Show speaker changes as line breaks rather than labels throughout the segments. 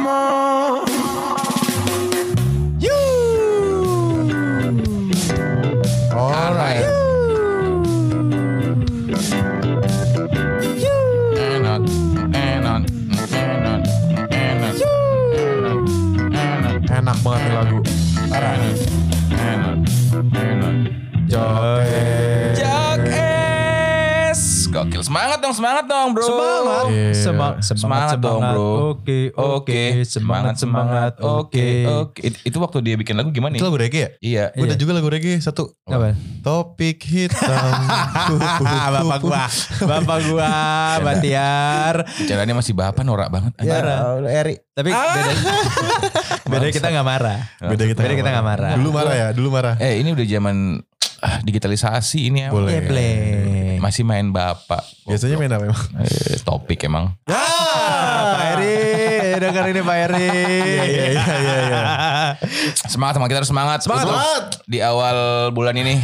como. You.
Alright. Enak, enak, enak, enak, enak,
Enak banget nih lagu.
enak, enak, enak.
Joget.
Jak es. Gokil. Semangat dong, semangat dong, bro.
Semangat,
Iya.
Semang- semangat,
Semangat dong, bro.
Oke, oke, semangat, semangat, oke,
oke. It- Itu waktu dia bikin lagu gimana?
Itu
ya?
lagu reggae ya?
Iya.
Gue ada juga lagu reggae satu.
Apa?
Topik hitam.
bapak gua, bapak gua, Batiar.
Caranya masih bapak norak banget.
Ya,
Marah.
Allah, Eri.
Tapi beda, beda kita nggak marah.
Beda kita
Beda kita nggak marah.
Dulu marah ya, dulu marah.
Eh ini udah zaman ah, digitalisasi ini ya.
Boleh.
Iya, Play, play.
Masih main bapak.
Biasanya main apa emang?
Eh, topik emang.
Ya!
Ah, Pak Eri, dengar ini Pak Eri.
Iya, iya, iya, iya.
Semangat sama kita harus semangat.
Semangat.
Betul. Di awal bulan ini.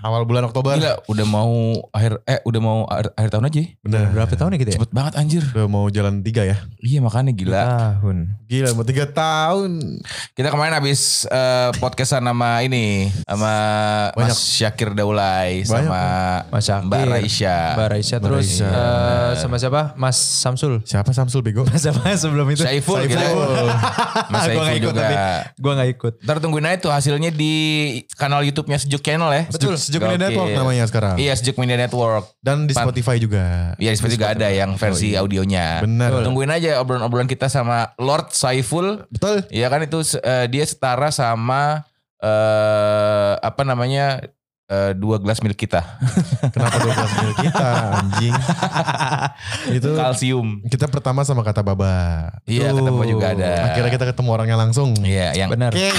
Awal bulan Oktober.
Gila, udah mau akhir eh udah mau akhir, akhir tahun aja. ya.
Bener.
Berapa tahun ya kita ya?
Cepet banget anjir.
Udah mau jalan tiga ya.
Iya makanya gila.
Tahun.
Gila, mau tiga tahun.
Kita kemarin habis eh, podcastan sama ini sama
Banyak.
Mas Syakir
Banyak,
Daulay sama
Mas Syakir.
Mbak Raisya.
Mbak Raisa
Mbak
terus
Raisa.
eh, sama siapa? Mas Samsul. gitu.
Siapa Samsul Bego?
Sama sebelum itu.
Saiful, kita. Mas
Gua
Saiful
nggak ikut
juga.
tapi. Gua nggak ikut.
Ntar tungguin aja tuh hasilnya di kanal YouTube-nya Sejuk Channel ya.
Sejuk, Sejuk Media Network
Gokil.
namanya sekarang.
Iya Sejuk Media Network.
Dan di
Pan-
Spotify juga.
Iya seperti juga ada yang versi audionya.
Benar.
Betul. Tungguin aja obrolan-obrolan kita sama Lord Saiful.
Betul.
Iya kan itu eh, dia setara sama eh apa namanya eh, dua gelas milik kita.
Kenapa 12 mil kita anjing? Itu
Kalsium.
kita pertama sama kata baba.
Iya kata gua juga ada.
Akhirnya kita ketemu orangnya langsung.
Iya yang
Benar.
kita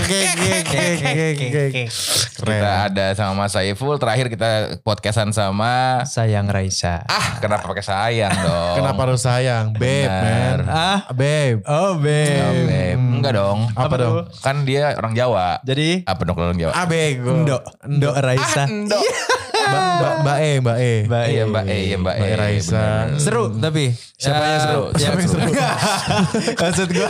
Keren.
ada sama Mas Saiful. Terakhir kita podcastan sama
Sayang Raisa.
ah kenapa pakai sayang dong?
Kenapa harus sayang? Babe,
Benar.
man.
Nah.
Ah,
Babe.
oh
Oh,
babe.
babe. Enggak dong.
Apa dong?
tuh?
Kan dia orang Jawa.
Jadi
Apa dong kalau orang
Ah,
Jawa?
Abego.
Ndo, Ndo Raisa.
Mbak Mbak- Mbak E, Mbak E.
Mbak
Iya
E.
Ah, mm. Mbak E, iya
Mbak
Mbak E.
Raisa.
bener.
Seru tapi.
Siapa yang
Eh,
seru? Siapa yang seru?
Maksud gue.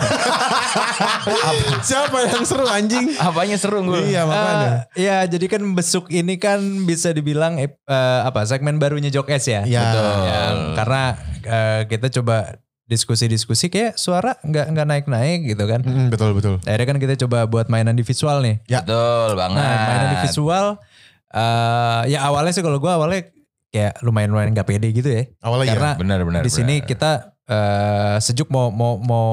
Siapa yang seru anjing?
Apanya seru gue?
Ah.
Iya makanya.
ya jadi kan besuk ini kan bisa dibilang eh, eh, apa segmen barunya Jokes ya.
Iya.
Ya.
Ya, karena eh, kita coba diskusi-diskusi kayak suara nggak nggak naik-naik gitu kan.
Mm,
Hmm.
betul betul.
Akhirnya kan kita coba buat mainan di visual nih.
Betul banget.
Nah, mainan di visual eh, ya awalnya sih kalau gue awalnya kayak lumayan-lumayan gak pede gitu ya.
Awalnya iya.
Karena
Benar benar.
di sini
benar.
kita eh, sejuk mau mau mau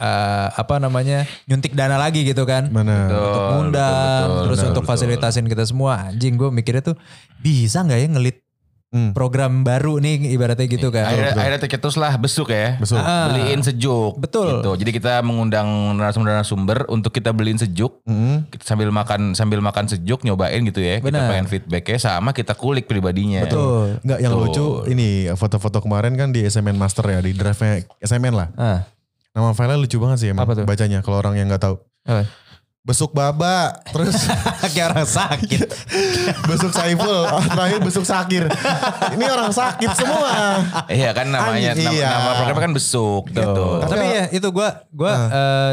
eh, apa namanya nyuntik dana lagi gitu kan
Mana?
Betul,
untuk
betul,
ngundang
betul,
terus
betul,
untuk
betul.
fasilitasin kita semua anjing gue mikirnya tuh bisa nggak ya ngelit
Hmm.
program baru nih ibaratnya gitu kan
Akhirnya, akhirnya tercetus lah besuk ya.
Besuk.
Ah.
Beliin sejuk.
Betul.
Gitu. Jadi kita mengundang narasumber-narasumber untuk kita beliin sejuk.
Mm.
Kita sambil makan sambil makan sejuk nyobain gitu ya. Kita
Benar.
pengen feedbacknya sama kita kulik pribadinya.
betul
Enggak yang
Tuh.
lucu ini foto-foto kemarin kan di SMN Master ya di drive-nya SMN lah.
Ah,
Nama filenya lucu banget sih emang
Apa tuh?
bacanya kalau orang yang nggak tahu.
apa?
Besuk Baba, terus
kayak orang sakit
besuk Saiful, terakhir besuk Sakir. Ini orang sakit semua.
Iya kan namanya
Anjing,
nama,
iya.
nama programnya kan besuk gitu.
tapi ya itu gue gue
Ah.
eh,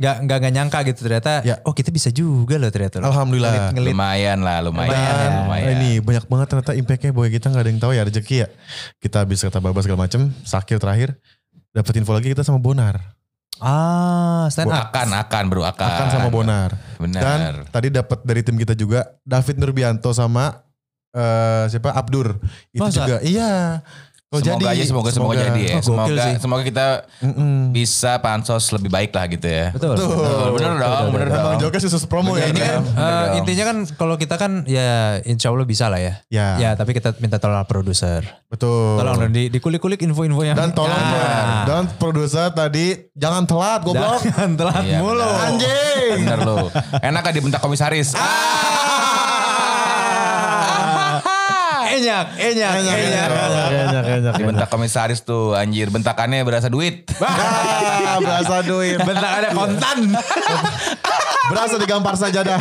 nggak nggak nggak nyangka gitu ternyata
Ya.
oh kita bisa juga loh
Oh.
ternyata loh.
Alhamdulillah.
ngelit
Lumayan lah, lumayan, ya,
Dan
lumayan.
Nah, ini banyak banget ternyata impactnya boy kita nggak ada yang tahu ya rezeki ya. Kita habis kata Baba segala macem, Sakir terakhir dapat info lagi kita sama Bonar.
ah stand up
Akan, akan bro, akan.
Akan sama Bonar. Dan
Ah, Benar.
tadi dapat dari tim kita juga David Nurbianto sama eh, siapa Abdur. Itu
Masa?
juga iya. Kalau
semoga aja semoga semoga, jadi ya.
Oh, gokil
semoga
sih.
semoga kita
Mm-mm.
bisa pansos lebih baik lah gitu ya.
betul,
Betul, bener dong, bener
Emang
dong.
Jokes khusus promo ya.
ini
Jok.
kan eh,
dong.
intinya kan kalau kita kan ya insya Allah bisa lah ya.
Ya.
Ya tapi kita minta tolong produser.
Betul.
Tolong dong di, dikulik-kulik info-info yang
Dan tolong
Ah,
pro- dan produser tadi jangan telat goblok.
jangan telat
Iya,
mulu.
benar.
Anjing.
Bener lo. Enak kan dibentak komisaris. Ah.
Enyak, enyak,
Iya,
Iya,
enyak.
Banyak banyak.
dibentak komisaris tuh anjir. Bentakannya berasa duit.
Ah, berasa duit.
Bentar ada
Iya.
kontan.
Berasa digampar sajadah.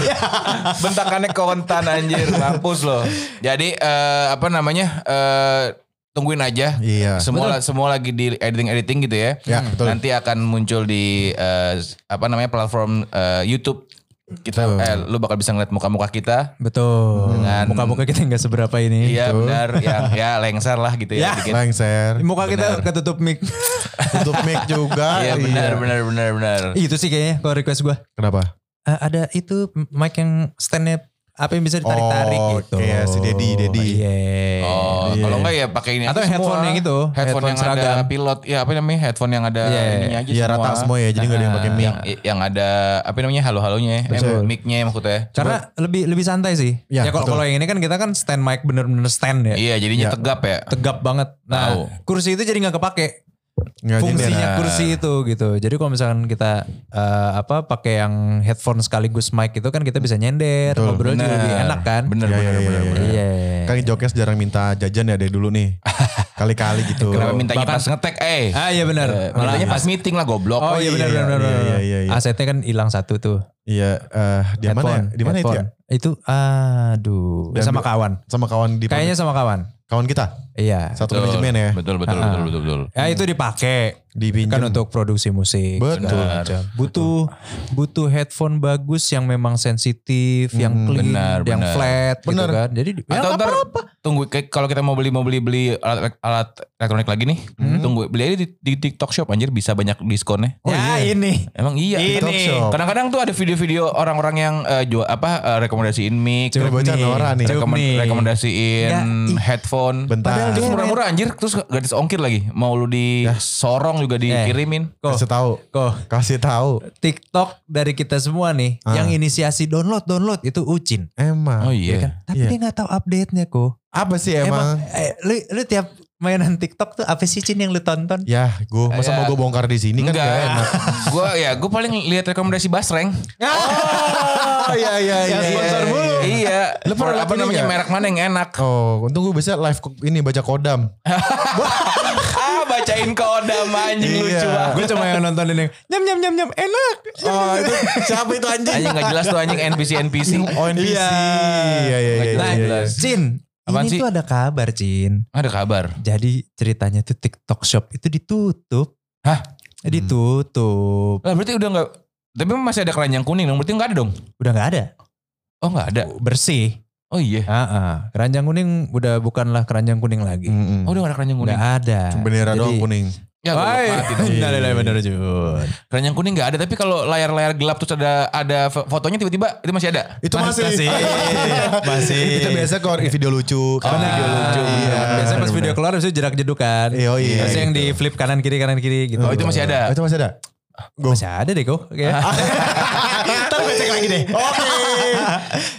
Bentakannya kontan anjir. Mampus loh. Jadi eh, apa namanya. eh, tungguin aja.
Iya.
Semua semua lagi di editing editing gitu ya.
Ya, betul.
Nanti akan muncul di eh, apa namanya platform eh, YouTube. Kita
Betul.
eh, lu bakal bisa ngeliat muka-muka kita.
Betul.
Hmm.
Dengan-
Muka-muka kita nggak seberapa ini.
Iya benar ya ya lengser lah gitu ya,
Ya.
dikit.
Gitu. Lengser.
Muka kita ketutup mic.
Tutup mic juga.
Iya benar benar benar benar.
Ih, itu sih kayaknya kalau request gue.
Kenapa?
Eh, ada itu mic yang stand apa yang bisa ditarik-tarik
Oh,
gitu.
kayak si Dedi, Dedi.
Iya.
Oh,
Iya.
kalau enggak ya pakai ini
Atau
aja semua.
headphone yang itu,
Headphone,
headphone
yang
seragam.
ada pilot. Ya apa namanya? Headphone yang ada
Iya,
ininya aja
Iya rata semua ya, jadi nggak ada yang pakai mic.
Yang, yang ada apa namanya? Halo-halonya, eh,
Betul.
mic-nya maksudnya.
Karena lebih lebih santai sih.
Ya,
Ya, kalau
betul.
kalau yang ini kan kita kan stand mic bener-bener stand ya.
Iya,
Iya.
jadinya tegap ya.
Tegap banget. Nah,
Tahu.
kursi itu jadi nggak kepake.
Nggak jadi
Fungsinya
nah.
kursi itu gitu. Jadi kalau misalkan kita eh, apa pakai yang headphone sekaligus mic itu kan kita bisa nyender,
Betul.
ngobrol juga lebih
Benar.
enak kan.
Benar,
Iya,
benar,
iya,
benar,
iya,
benar.
Iya.
Kan Jokes jarang minta jajan ya dari dulu nih. Kali-kali gitu.
Kenapa mintanya
Bahkan-
pas ngetek? Eh,
Ah iya benar.
Eh, mintanya pas meeting lah goblok.
Oh, iya benar
oh, iya,
benar benar.
iya,
benar.
iya, iya.
Asetnya kan hilang satu tuh.
Iya, eh di mana ya?
Headphone,
Di mana itu ya?
headphone. Itu aduh,
Dan
sama
dua-
kawan.
Sama kawan di
Kayaknya sama kawan.
kawan kita.
Iya.
Satu manajemen ya.
Betul, betul,
Ah.
betul, betul, betul.
Ya itu dipakai
Dipinjam.
kan untuk produksi musik.
Betul.
segala macam. Butuh butuh headphone bagus yang memang sensitif, yang clean,
benar,
yang
benar.
flat
Hmm, Benar.
gitu kan. Jadi di- ya,
Atau
nggak
ntar
apa-apa.
tunggu kayak kalau kita mau beli mau beli beli alat, alat elektronik lagi nih, tunggu beli aja di, di TikTok Shop anjir bisa banyak diskonnya.
Oh,
ya ini.
Emang iya.
Ini.
TikTok Shop. Kadang-kadang tuh ada video-video orang-orang yang eh, jual apa eh, rekomendasiin mic,
Coba baca
nih,
Nora nih. Nah,
coba.
rekomen-
nih.
rekomendasiin
Nggak, ih.
headphone. Kan
Bentar.
Padahal
Terus
dia-
murah-murah anjir, terus gratis ongkir lagi. Mau lu disorong juga dikirimin.
Kok,
Kasih tahu.
kok
Kasih tahu.
TikTok dari kita semua nih
Ah.
yang inisiasi download download itu Ucin.
Emang.
Oh
ya
iya.
kan? Tapi
Iya.
dia nggak tahu update-nya kok.
Apa sih emang?
eh, lu, lu tiap mainan TikTok tuh apa sih Cin yang lu tonton?
Ya, gue masa
Ya.
mau gue bongkar di sini kan gak enak.
Enggak. Gue ya, gue paling lihat rekomendasi Basreng.
Ya. Oh iya iya iya.
Yang sponsor
iya,
mulu.
iya.
Iya.
Lu pernah lihat
apa
ini
namanya
nggak?
merek mana yang enak?
Oh, untung gue bisa live ko- ini baca kodam.
ah, bacain kodam
Iya.
anjing lucu banget.
Gue cuma yang nontonin yang nyam nyam nyam Eh, nyam enak.
Oh, itu siapa itu anjing?
Anjing gak jelas tuh anjing NPC NPC.
Oh, NPC.
Iya.
Iya iya iya.
Nah,
iya, iya.
Cin,
Apaan
ini
sih?
tuh ada kabar Cin.
Ada kabar.
Jadi ceritanya tuh TikTok Shop itu ditutup. Eh,
Hah?
Ditutup.
Lah berarti udah nggak. Tapi masih ada keranjang kuning dong. Berarti nggak ada dong.
Udah nggak ada.
Oh nggak ada.
Bersih.
Oh iya.
Ah, ah. Keranjang kuning udah bukanlah keranjang kuning lagi.
Mm-mm.
Oh udah nggak ada keranjang kuning.
Nggak ada.
Bendera doang kuning.
Ya gua
Wah,
matiin dong.
bener Jun.
Keranjang kuning nggak ada. Tapi kalau layar-layar gelap terus ada ada fo- fotonya tiba-tiba itu masih ada.
Itu masih.
Masih. Masih.
Itu biasa kalau video lucu. Karena
Benar.
video lucu.
Iya. Biasanya pas
benar,
video
benar.
keluar habis itu jerak jeduk kan.
Iya, iya,
Biasanya yang
gitu.
di flip kanan kiri kanan kiri gitu.
Oh, itu masih ada.
Oh, Itu masih ada.
Masih ada deh kok. Ntar gue cek lagi deh. Oke.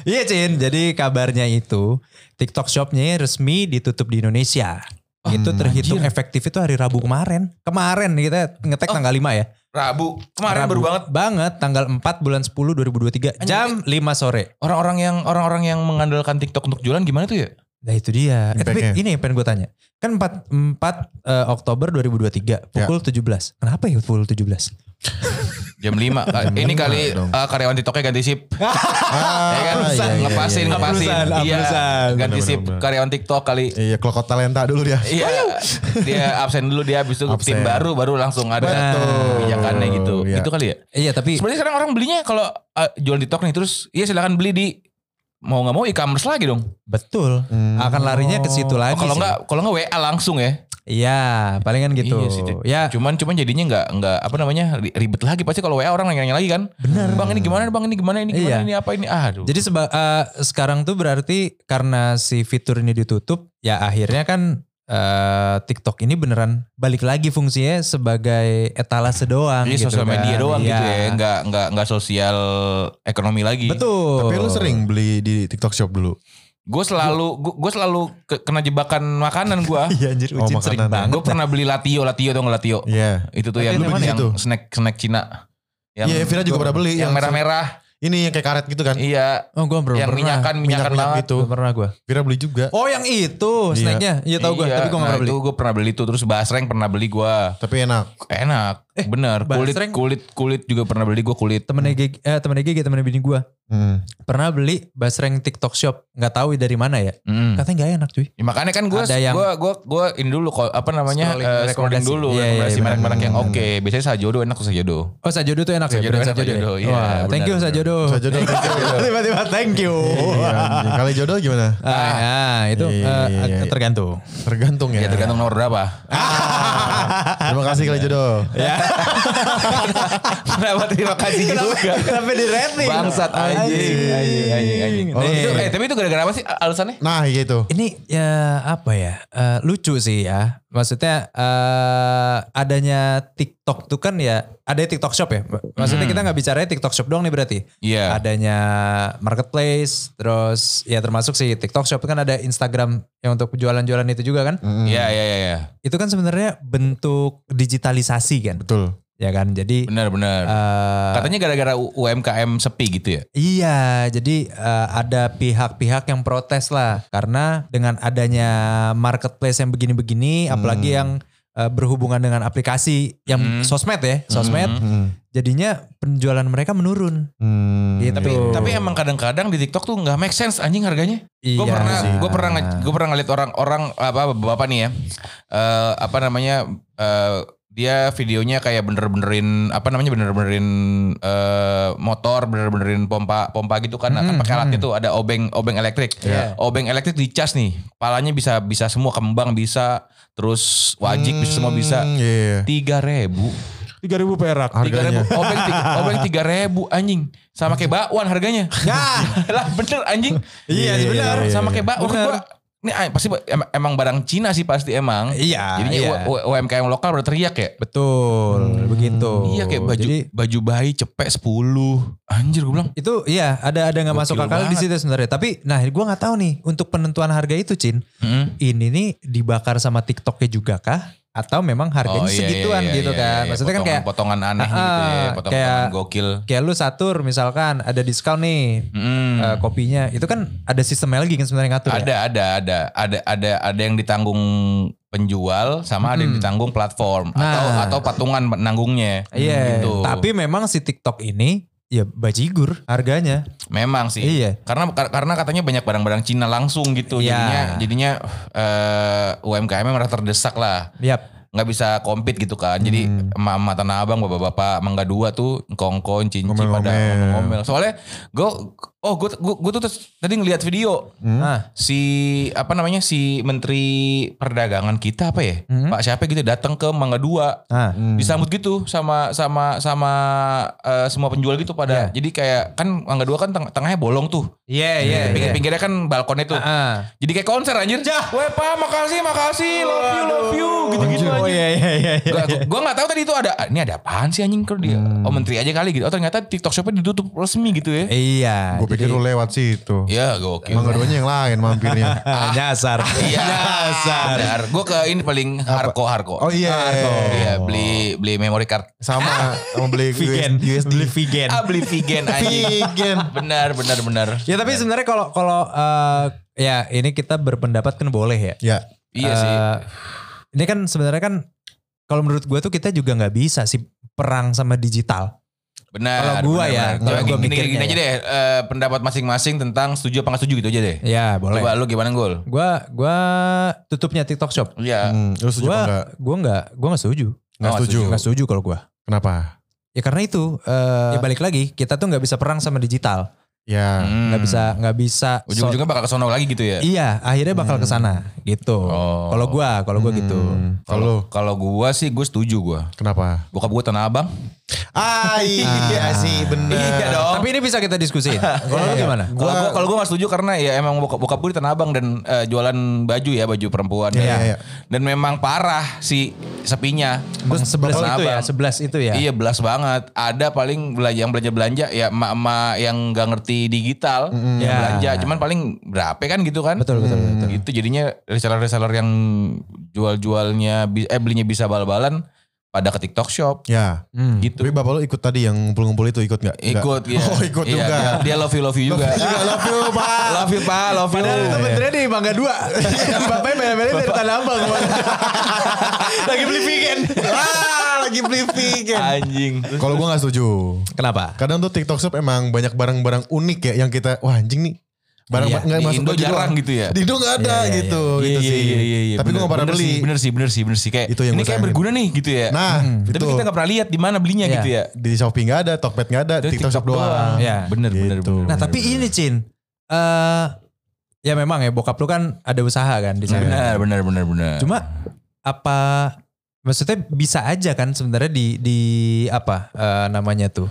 Iya Cin, jadi kabarnya itu TikTok shopnya resmi ditutup di Indonesia. itu terhitung efektif itu hari Rabu kemarin. Kemarin kita ngetek tanggal 5 ya.
Rabu Oh. kemarin
Rabu.
baru banget.
Banget tanggal 4 bulan 10 2023 jam 5 sore.
Orang-orang yang orang-orang yang mengandalkan TikTok untuk jualan gimana tuh ya?
Nah itu dia. Eh, tapi
Impactnya.
ini yang pengen gue tanya. Kan 4, 4 eh, Oktober
Ya.
2023 pukul 17. Kenapa ya pukul 17?
Jam 5. ini
lima
kali
dong.
eh, karyawan TikToknya ganti sip.
Ah,
ya kan?
iya, iya, iya,
Ngepasin,
iya.
ngepasin.
Ablusan,
Iya,
ablusan.
ganti
Benar,
sip
benar, benar.
karyawan TikTok kali.
Iya, klokot talenta dulu dia.
Iya, dia absen dulu dia habis itu
Absen.
tim baru baru langsung ada
Betul.
kebijakannya gitu.
Iya.
Gitu kali ya.
Iya tapi
Sebenarnya sekarang orang belinya kalau eh, jual di TikTok nih terus ya silakan beli di mau nggak mau e-commerce lagi dong.
betul.
Hmm.
Akan larinya ke
Oh,
situ lagi
kalau
sih.
nggak kalau nggak WA langsung ya.
Iya palingan gitu.
Iya sih, Cin.
ya
Cuman cuman jadinya nggak nggak apa namanya ri- ribet lagi pasti kalau WA orang nanya-nanya lagi kan. Benar. Bang ini gimana? Bang ini gimana? Ini gimana?
Iya.
Ini apa ini? Ah, aduh.
jadi seba- eh, sekarang tuh berarti karena si fitur ini ditutup ya akhirnya kan eh, TikTok ini beneran balik lagi fungsinya sebagai etalase doang
Jadi
gitu
sosial
kan.
media doang gitu
Iya.
ya, nggak nggak nggak sosial ekonomi lagi.
Tapi
Betul.
lu sering beli di TikTok shop dulu.
Gue selalu gue selalu ke- kena jebakan makanan gue.
Iya anjir
Oh,
Ucin sering
makanan.
banget.
gue pernah beli latio, latio tau nggak latio?
Iya.
Itu tuh
Latio
yang
yang mana
yang
itu?
snack snack Cina.
Iya, Vira juga pernah beli
Yang
yang-
merah-merah.
Ini yang kayak karet gitu kan.
Iya.
Oh gue belum
yang
pernah.
minyakan minyakan
Minyak-minyak
banget.
gitu.
Belum pernah gue.
Vira beli juga.
Oh yang itu
Iya.
snacknya. Iya tahu gue.
Iya,
Tapi gue gak
nah,
pernah beli.
Itu gue pernah beli tuh terus basreng pernah beli gue.
Tapi enak.
Enak.
Eh,
Bener,
Bahas
kulit
sering.
kulit kulit juga pernah beli gue kulit.
Temennya Gigi, eh, temennya Gigi, temennya bini gue.
Hmm.
Pernah beli basreng TikTok shop. Gak tahu dari mana ya.
Mm.
Katanya gak enak cuy.
Ya, makanya kan gue
Ada yang-
gue gue gue ini dulu kok apa namanya
Scrolling,
eh, scrolling,
rekomendasi.
dulu
Iya, iya,
rekomendasi
iya,
merek-merek yang
benar,
oke. Biasanya sajodo enak tuh sajodo.
Oh Sajodo tuh enak ya?
Sajodo
brand
enak,
ya?
Sajodo, iya,
Wah, thank
benar,
you
benar.
Sajodo.
Sajodo, thank you.
Tiba-tiba thank you.
Iya, anjing. Kali jodoh gimana?
Ah, ah, itu
Iya,
eh,
iya, iya.
tergantung.
Tergantung ya.
Iya.
Ya tergantung nomor berapa.
Terima kasih
Iya.
kali jodoh.
Kenapa terima kasih juga.
Sampai di rating.
Bangsat
Iya,
anjing, anjing, anjing, anjing.
Oh,
Itu,
iya.
eh, tapi itu gara-gara apa sih alasannya?
Nah gitu.
Ini ya apa ya? eh, lucu sih ya. Maksudnya eh, adanya TikTok tuh kan ya ada TikTok Shop ya. Maksudnya
Hmm.
kita nggak bicaranya TikTok Shop doang nih berarti.
Iya.
Adanya marketplace, terus ya termasuk si TikTok Shop kan ada Instagram yang untuk jualan-jualan itu juga kan.
Mm,
Iya, iya, iya, iya.
Itu kan sebenarnya bentuk digitalisasi kan,
Betul.
ya kan. Jadi
Benar, benar.
eh,
Katanya gara-gara U- UMKM sepi gitu ya.
Iya, jadi eh, ada pihak-pihak yang protes lah karena dengan adanya marketplace yang begini-begini, apalagi yang eh, berhubungan dengan aplikasi yang
Hmm.
sosmed ya, sosmed,
Hmm.
Mm,
jadinya penjualan mereka menurun.
mm,
Gitu.
Iya, Tapi
Tuh.
tapi emang kadang-kadang di TikTok tuh nggak make sense anjing harganya. Gue pernah
Iya sih.
gue pernah nge- gue pernah ngeliat orang-orang apa bapak nih ya. eh, apa namanya eh, dia videonya kayak bener-benerin apa namanya bener-benerin eh, motor, bener-benenerin pompa pompa gitu kan akan
Hmm,
pakai alat
hmm.
itu ada obeng obeng elektrik.
Iya.
Obeng elektrik dicas nih. Palanya bisa bisa semua kembang bisa, terus wajik bisa semua bisa.
mm, Iya.
Tiga ribu,
3000 perak.
tiga ribu,
Harganya.
obeng tiga, obeng tiga ribu anjing, sama kayak bakwan harganya.
Nah,
lah bener anjing,
iya,
Iya,
benar.
iya, iya.
sama kayak bakwan.
Bener.
Gua, ini ah, pasti em- emang barang Cina sih pasti emang.
Iya,
Jadinya
iya.
U- U- UMKM lokal udah teriak ya.
Betul, begitu.
Iya kayak baju
Oh, Jadi,
baju bayi cepek 10. Anjir gue bilang.
itu iya ada ada nggak masuk
Gokil
akal di
banget.
situ sebenarnya. Tapi nah gua nggak tahu nih untuk penentuan harga itu, Cin.
"Mm."
ini nih dibakar sama TikToknya juga kah? Atau memang
Oh,
harganya
iya,
segituan
iya,
gitu
iya,
kan?
iya,
Maksudnya kan kayak
potongan-potongan aneh gitu ya,
Ah,
potongan-potongan
kayak-
gokil.
kayak lu satur misalkan ada diskon nih
Mm.
eh, kopinya, itu kan ada sistemnya lagi kan sebenarnya yang ngatur ya?
ada ada ada ada ada ada yang ditanggung penjual sama ada yang
Mm-mm.
ditanggung platform atau
Hmm. Nah.
atau patungan nanggungnya
Iya.
gitu.
Tapi memang si TikTok ini ya bajigur harganya.
memang sih
Iya.
karena kar- karena katanya banyak barang-barang Cina langsung gitu
Iya.
jadinya jadinya eh, UMKM merasa terdesak lah
Yap.
nggak bisa compete gitu kan jadi
Hmm.
emak-emak tanah abang bapak-bapak mangga dua tuh kongkon cinci
Ngomel-ngomel.
pada ngomel soalnya gue oh gue gue tuh terus- tadi ngeliat video
Nah,
si apa namanya si menteri perdagangan kita apa ya
Hmm.
Pak siapa gitu datang ke Mangga Dua
nah.
Mm.
disambut gitu sama sama sama eh, semua penjual gitu pada jadi kayak kan Mangga Dua kan teng- tengahnya bolong tuh
Iya, iya, iya.
pinggir-pinggirnya kan balkonnya tuh
Ah.
jadi kayak konser anjir weh pak makasih makasih love you love you gitu-gitu
Oh
anjir
iya, iya, iya. iya.
Gua, gua gak tahu tadi itu ada "Ah, ini ada apaan sih anjing kalau dia oh menteri aja kali gitu oh ternyata TikTok shopnya ditutup resmi gitu ya
Iya.
Gue pikir lu lewat situ.
ya gokil
Emang keduanya yang lain mampirnya.
Ah, nyasar.
Iya.
Nyasar.
Benar. Gue ke ini paling harko harko.
Oh iya.
Iya beli beli memory card.
Sama mau beli
Vegan.
US,
Beli vegan.
Ah beli vegan anjing.
Vegan.
benar benar benar.
Ya tapi sebenarnya kalau kalau eh, ya ini kita berpendapat kan boleh ya.
Ya.
Iya sih.
Eh, ini kan sebenarnya kan kalau menurut gue tuh kita juga nggak bisa sih perang sama digital. kalau
Benar.
gua
benar,
ya,
benar.
kalau
Coba
gua
gini, gini,
mikirnya
gini aja
ya.
deh. eh, pendapat masing-masing tentang setuju apa nggak setuju gitu aja deh.
Ya
Coba
boleh.
lu gimana gol?
Gue gua tutupnya TikTok Shop.
Iya.
Hmm, lu setuju
Gue
apa enggak?
gua nggak gua nggak setuju.
Enggak
Oh,
setuju.
Nggak setuju kalau gue.
Kenapa?
Ya karena itu eh, ya balik lagi kita tuh nggak bisa perang sama digital.
Ya.
Hmm.
Nggak bisa nggak bisa. so-
Ujung-ujungnya bakal kesono lagi gitu ya.
iya akhirnya bakal
Hmm.
kesana gitu.
Oh.
Kalau gue kalau gue gitu.
Hmm, Kalau lu,
Kalau kalau gua sih gue setuju gua.
kenapa?
Bokap gua tanah abang.
Ah iya sih bener.
Iya dong.
Tapi ini bisa kita diskusiin. Kalau lu gimana?
Kalau gua kalau gua gak setuju karena ya emang bokap bokap gue di Tanah Abang dan eh, jualan baju ya baju perempuan
Iya,
Dan-
iya, iya.
dan memang parah si sepinya.
Emang sebelas
Tanah
itu ya,
Abang.
sebelas itu ya.
Iya belas banget. Ada paling belanja yang belanja belanja ya emak-emak yang gak ngerti digital
Iya.
yang
Ya.
belanja. Cuman paling berapa kan gitu kan?
Betul, betul, betul.
Gitu jadinya reseller-reseller yang jual-jualnya bi- eh belinya bisa bal-balan pada ke TikTok shop
Ya.
Hmm.
gitu.
Tapi bapak lu ikut tadi yang ngumpul-ngumpul itu ikut nggak? Nggak.
Ikut ya.
Oh ikut
Iya,
juga.
Dia, dia love you love you juga.
Love you pak.
love you Oh, pak, love you.
Padahal itu benernya di Mangga 2. Bapaknya bela-belain dari Tanah Abang. Lagi beli vegan.
Ah, lagi
lagi beli vegan.
Anjing.
Kalau gue gak setuju.
Kenapa?
Kadang tuh TikTok shop emang banyak barang-barang unik ya yang kita wah anjing nih. Barang
Iya,
nggak
di
masuk
Indo
baju
jarang
doang.
gitu ya.
Di Indo nggak ada
Iya, iya,
gitu
Iya,
gitu
iya,
sih.
iya, iya, iya.
Tapi gue
Bener,
gak pernah
bener
beli.
Sih, bener sih, bener sih, bener sih. Kayak
Itu yang
ini
gua
kayak
sayangin.
berguna nih gitu ya.
Nah, itu
Tapi kita gak pernah lihat di mana belinya
Iya.
gitu ya.
di Shopee nggak ada, Tokped nggak ada,
Itu
TikTok, shop doang.
Iya.
Bener, bener,
Gitu.
bener.
Nah tapi ini Cin. eh ya memang ya bokap lu kan ada usaha kan di sana.
bener, bener, bener, bener.
Cuma apa maksudnya bisa aja kan sebenarnya di di apa eh, namanya tuh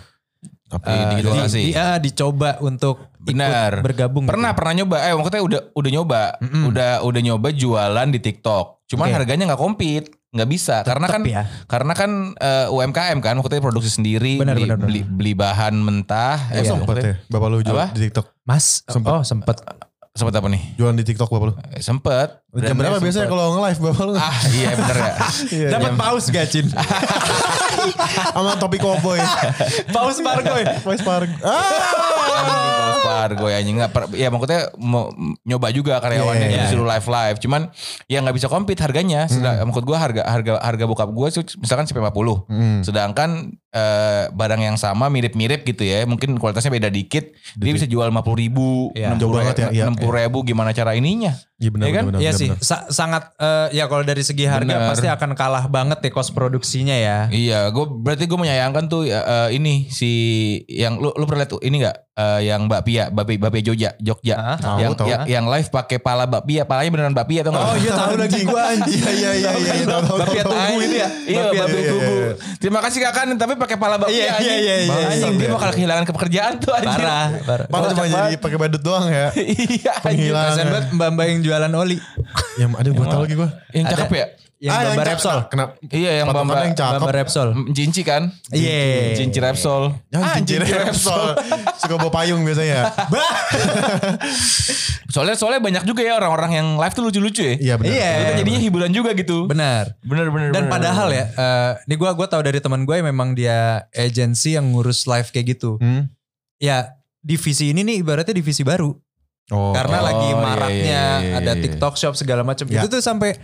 Tapi
Eh,
di- digitalisasi.
di- ah, dicoba untuk ikut
Benar.
bergabung
Hmm.
gitu.
Pernah pernah nyoba, eh maksudnya udah udah nyoba,
Mm-mm.
udah udah nyoba jualan di TikTok. Cuman
Oke.
harganya nggak kompet, nggak bisa karena
Tetep
kan
ya.
karena kan eh, UMKM kan maksudnya produksi sendiri,
Benar,
beli,
benar, benar.
beli beli bahan mentah.
Lu sempet ya, bapak lu jual
iya, Apa?
di TikTok.
Mas
Sempet.
oh sempet
Sempet apa nih?
Jualan di TikTok bapak lu.
Eh, Sempet.
Jam berapa biasanya kalau nge-live bapak lu?
Ah iya bener ya.
Iya.
dapat paus gak Cin
Sama topi cowboy.
paus
ya?
parkoy
Voice park. Ah!
Anjing, Paus Pargo ya anjing nggak per- ya maksudnya mau nyoba juga karyawannya
Iya, Hmm. iya,
disuruh live live cuman ya nggak bisa kompet harganya Sedang, maksud gue harga harga harga bokap gue misalkan sampai 50
Hmm.
sedangkan eh, barang yang sama mirip-mirip gitu ya mungkin kualitasnya beda dikit dia bisa jual 50 ribu
Iya.
60
Jauh banget ya, iya,
ribu gimana cara ininya
Iya benar
Iya kan?
benar.
Iya
benar,
sih,
benar.
sa- sangat eh, ya kalau dari segi harga
Bener.
pasti akan kalah banget ya kos produksinya ya.
Iya, gue berarti gue menyayangkan tuh ya, eh, ini si yang lu lu pernah lihat tuh, ini nggak Eh, yang Mbak Pia, Mbak Pia, Mbak Pia Jogja, Jogja,
Ah,
tahu,
yang, ya,
tahu. Oh,
yang yang live pakai pala Mbak Pia, palanya beneran Mbak Pia atau nggak?
tahu lagi gua
Iya iya iya iya.
kan?
iya, tahu, tahu,
Tapi
tahu.
tugu itu
Iya,
ya. Mbak Pia
Mbak Pia
iya,
Tugu.
iya.
Terima kasih kakak, nih, tapi pakai pala Mbak Pia.
Iya,
anjing.
iya, iya, iya,
Anjing,
iya.
dia bakal kehilangan kepekerjaan tuh anjing.
Parah, parah.
Bapak cuma jadi pakai badut doang ya.
Iya, anjing.
Penghilang.
Kasian banget mbak-mbak yang jualan oli.
Yang ada
Iya,
gue Ya, tahu lagi gue.
Yang cakep ya?
Ah,
Yang gambar Repsol.
nah, Kenapa?
Iya, yang Mbak
Patokan yang
Mbak.
cakep.
Gambar Repsol.
Jinci kan?
Iya.
Jinci Repsol.
Ya,
Ah,
jinjit Repsol. Suka bawa payung biasanya.
Soalnya soalnya banyak juga ya orang-orang yang live tuh lucu-lucu ya.
Iya benar.
Iya.
Itu jadinya hiburan juga gitu.
Benar.
Bener bener.
Dan
bener,
padahal ya, eh, ini gue gua tahu dari teman gue memang dia agensi yang ngurus live kayak gitu.
Hmm.
Ya divisi ini nih ibaratnya divisi baru
Oh.
karena
Oh,
lagi
iya, iya,
maraknya
iya, iya,
ada
iya.
TikTok shop segala macam.
Ya.
Itu tuh sampai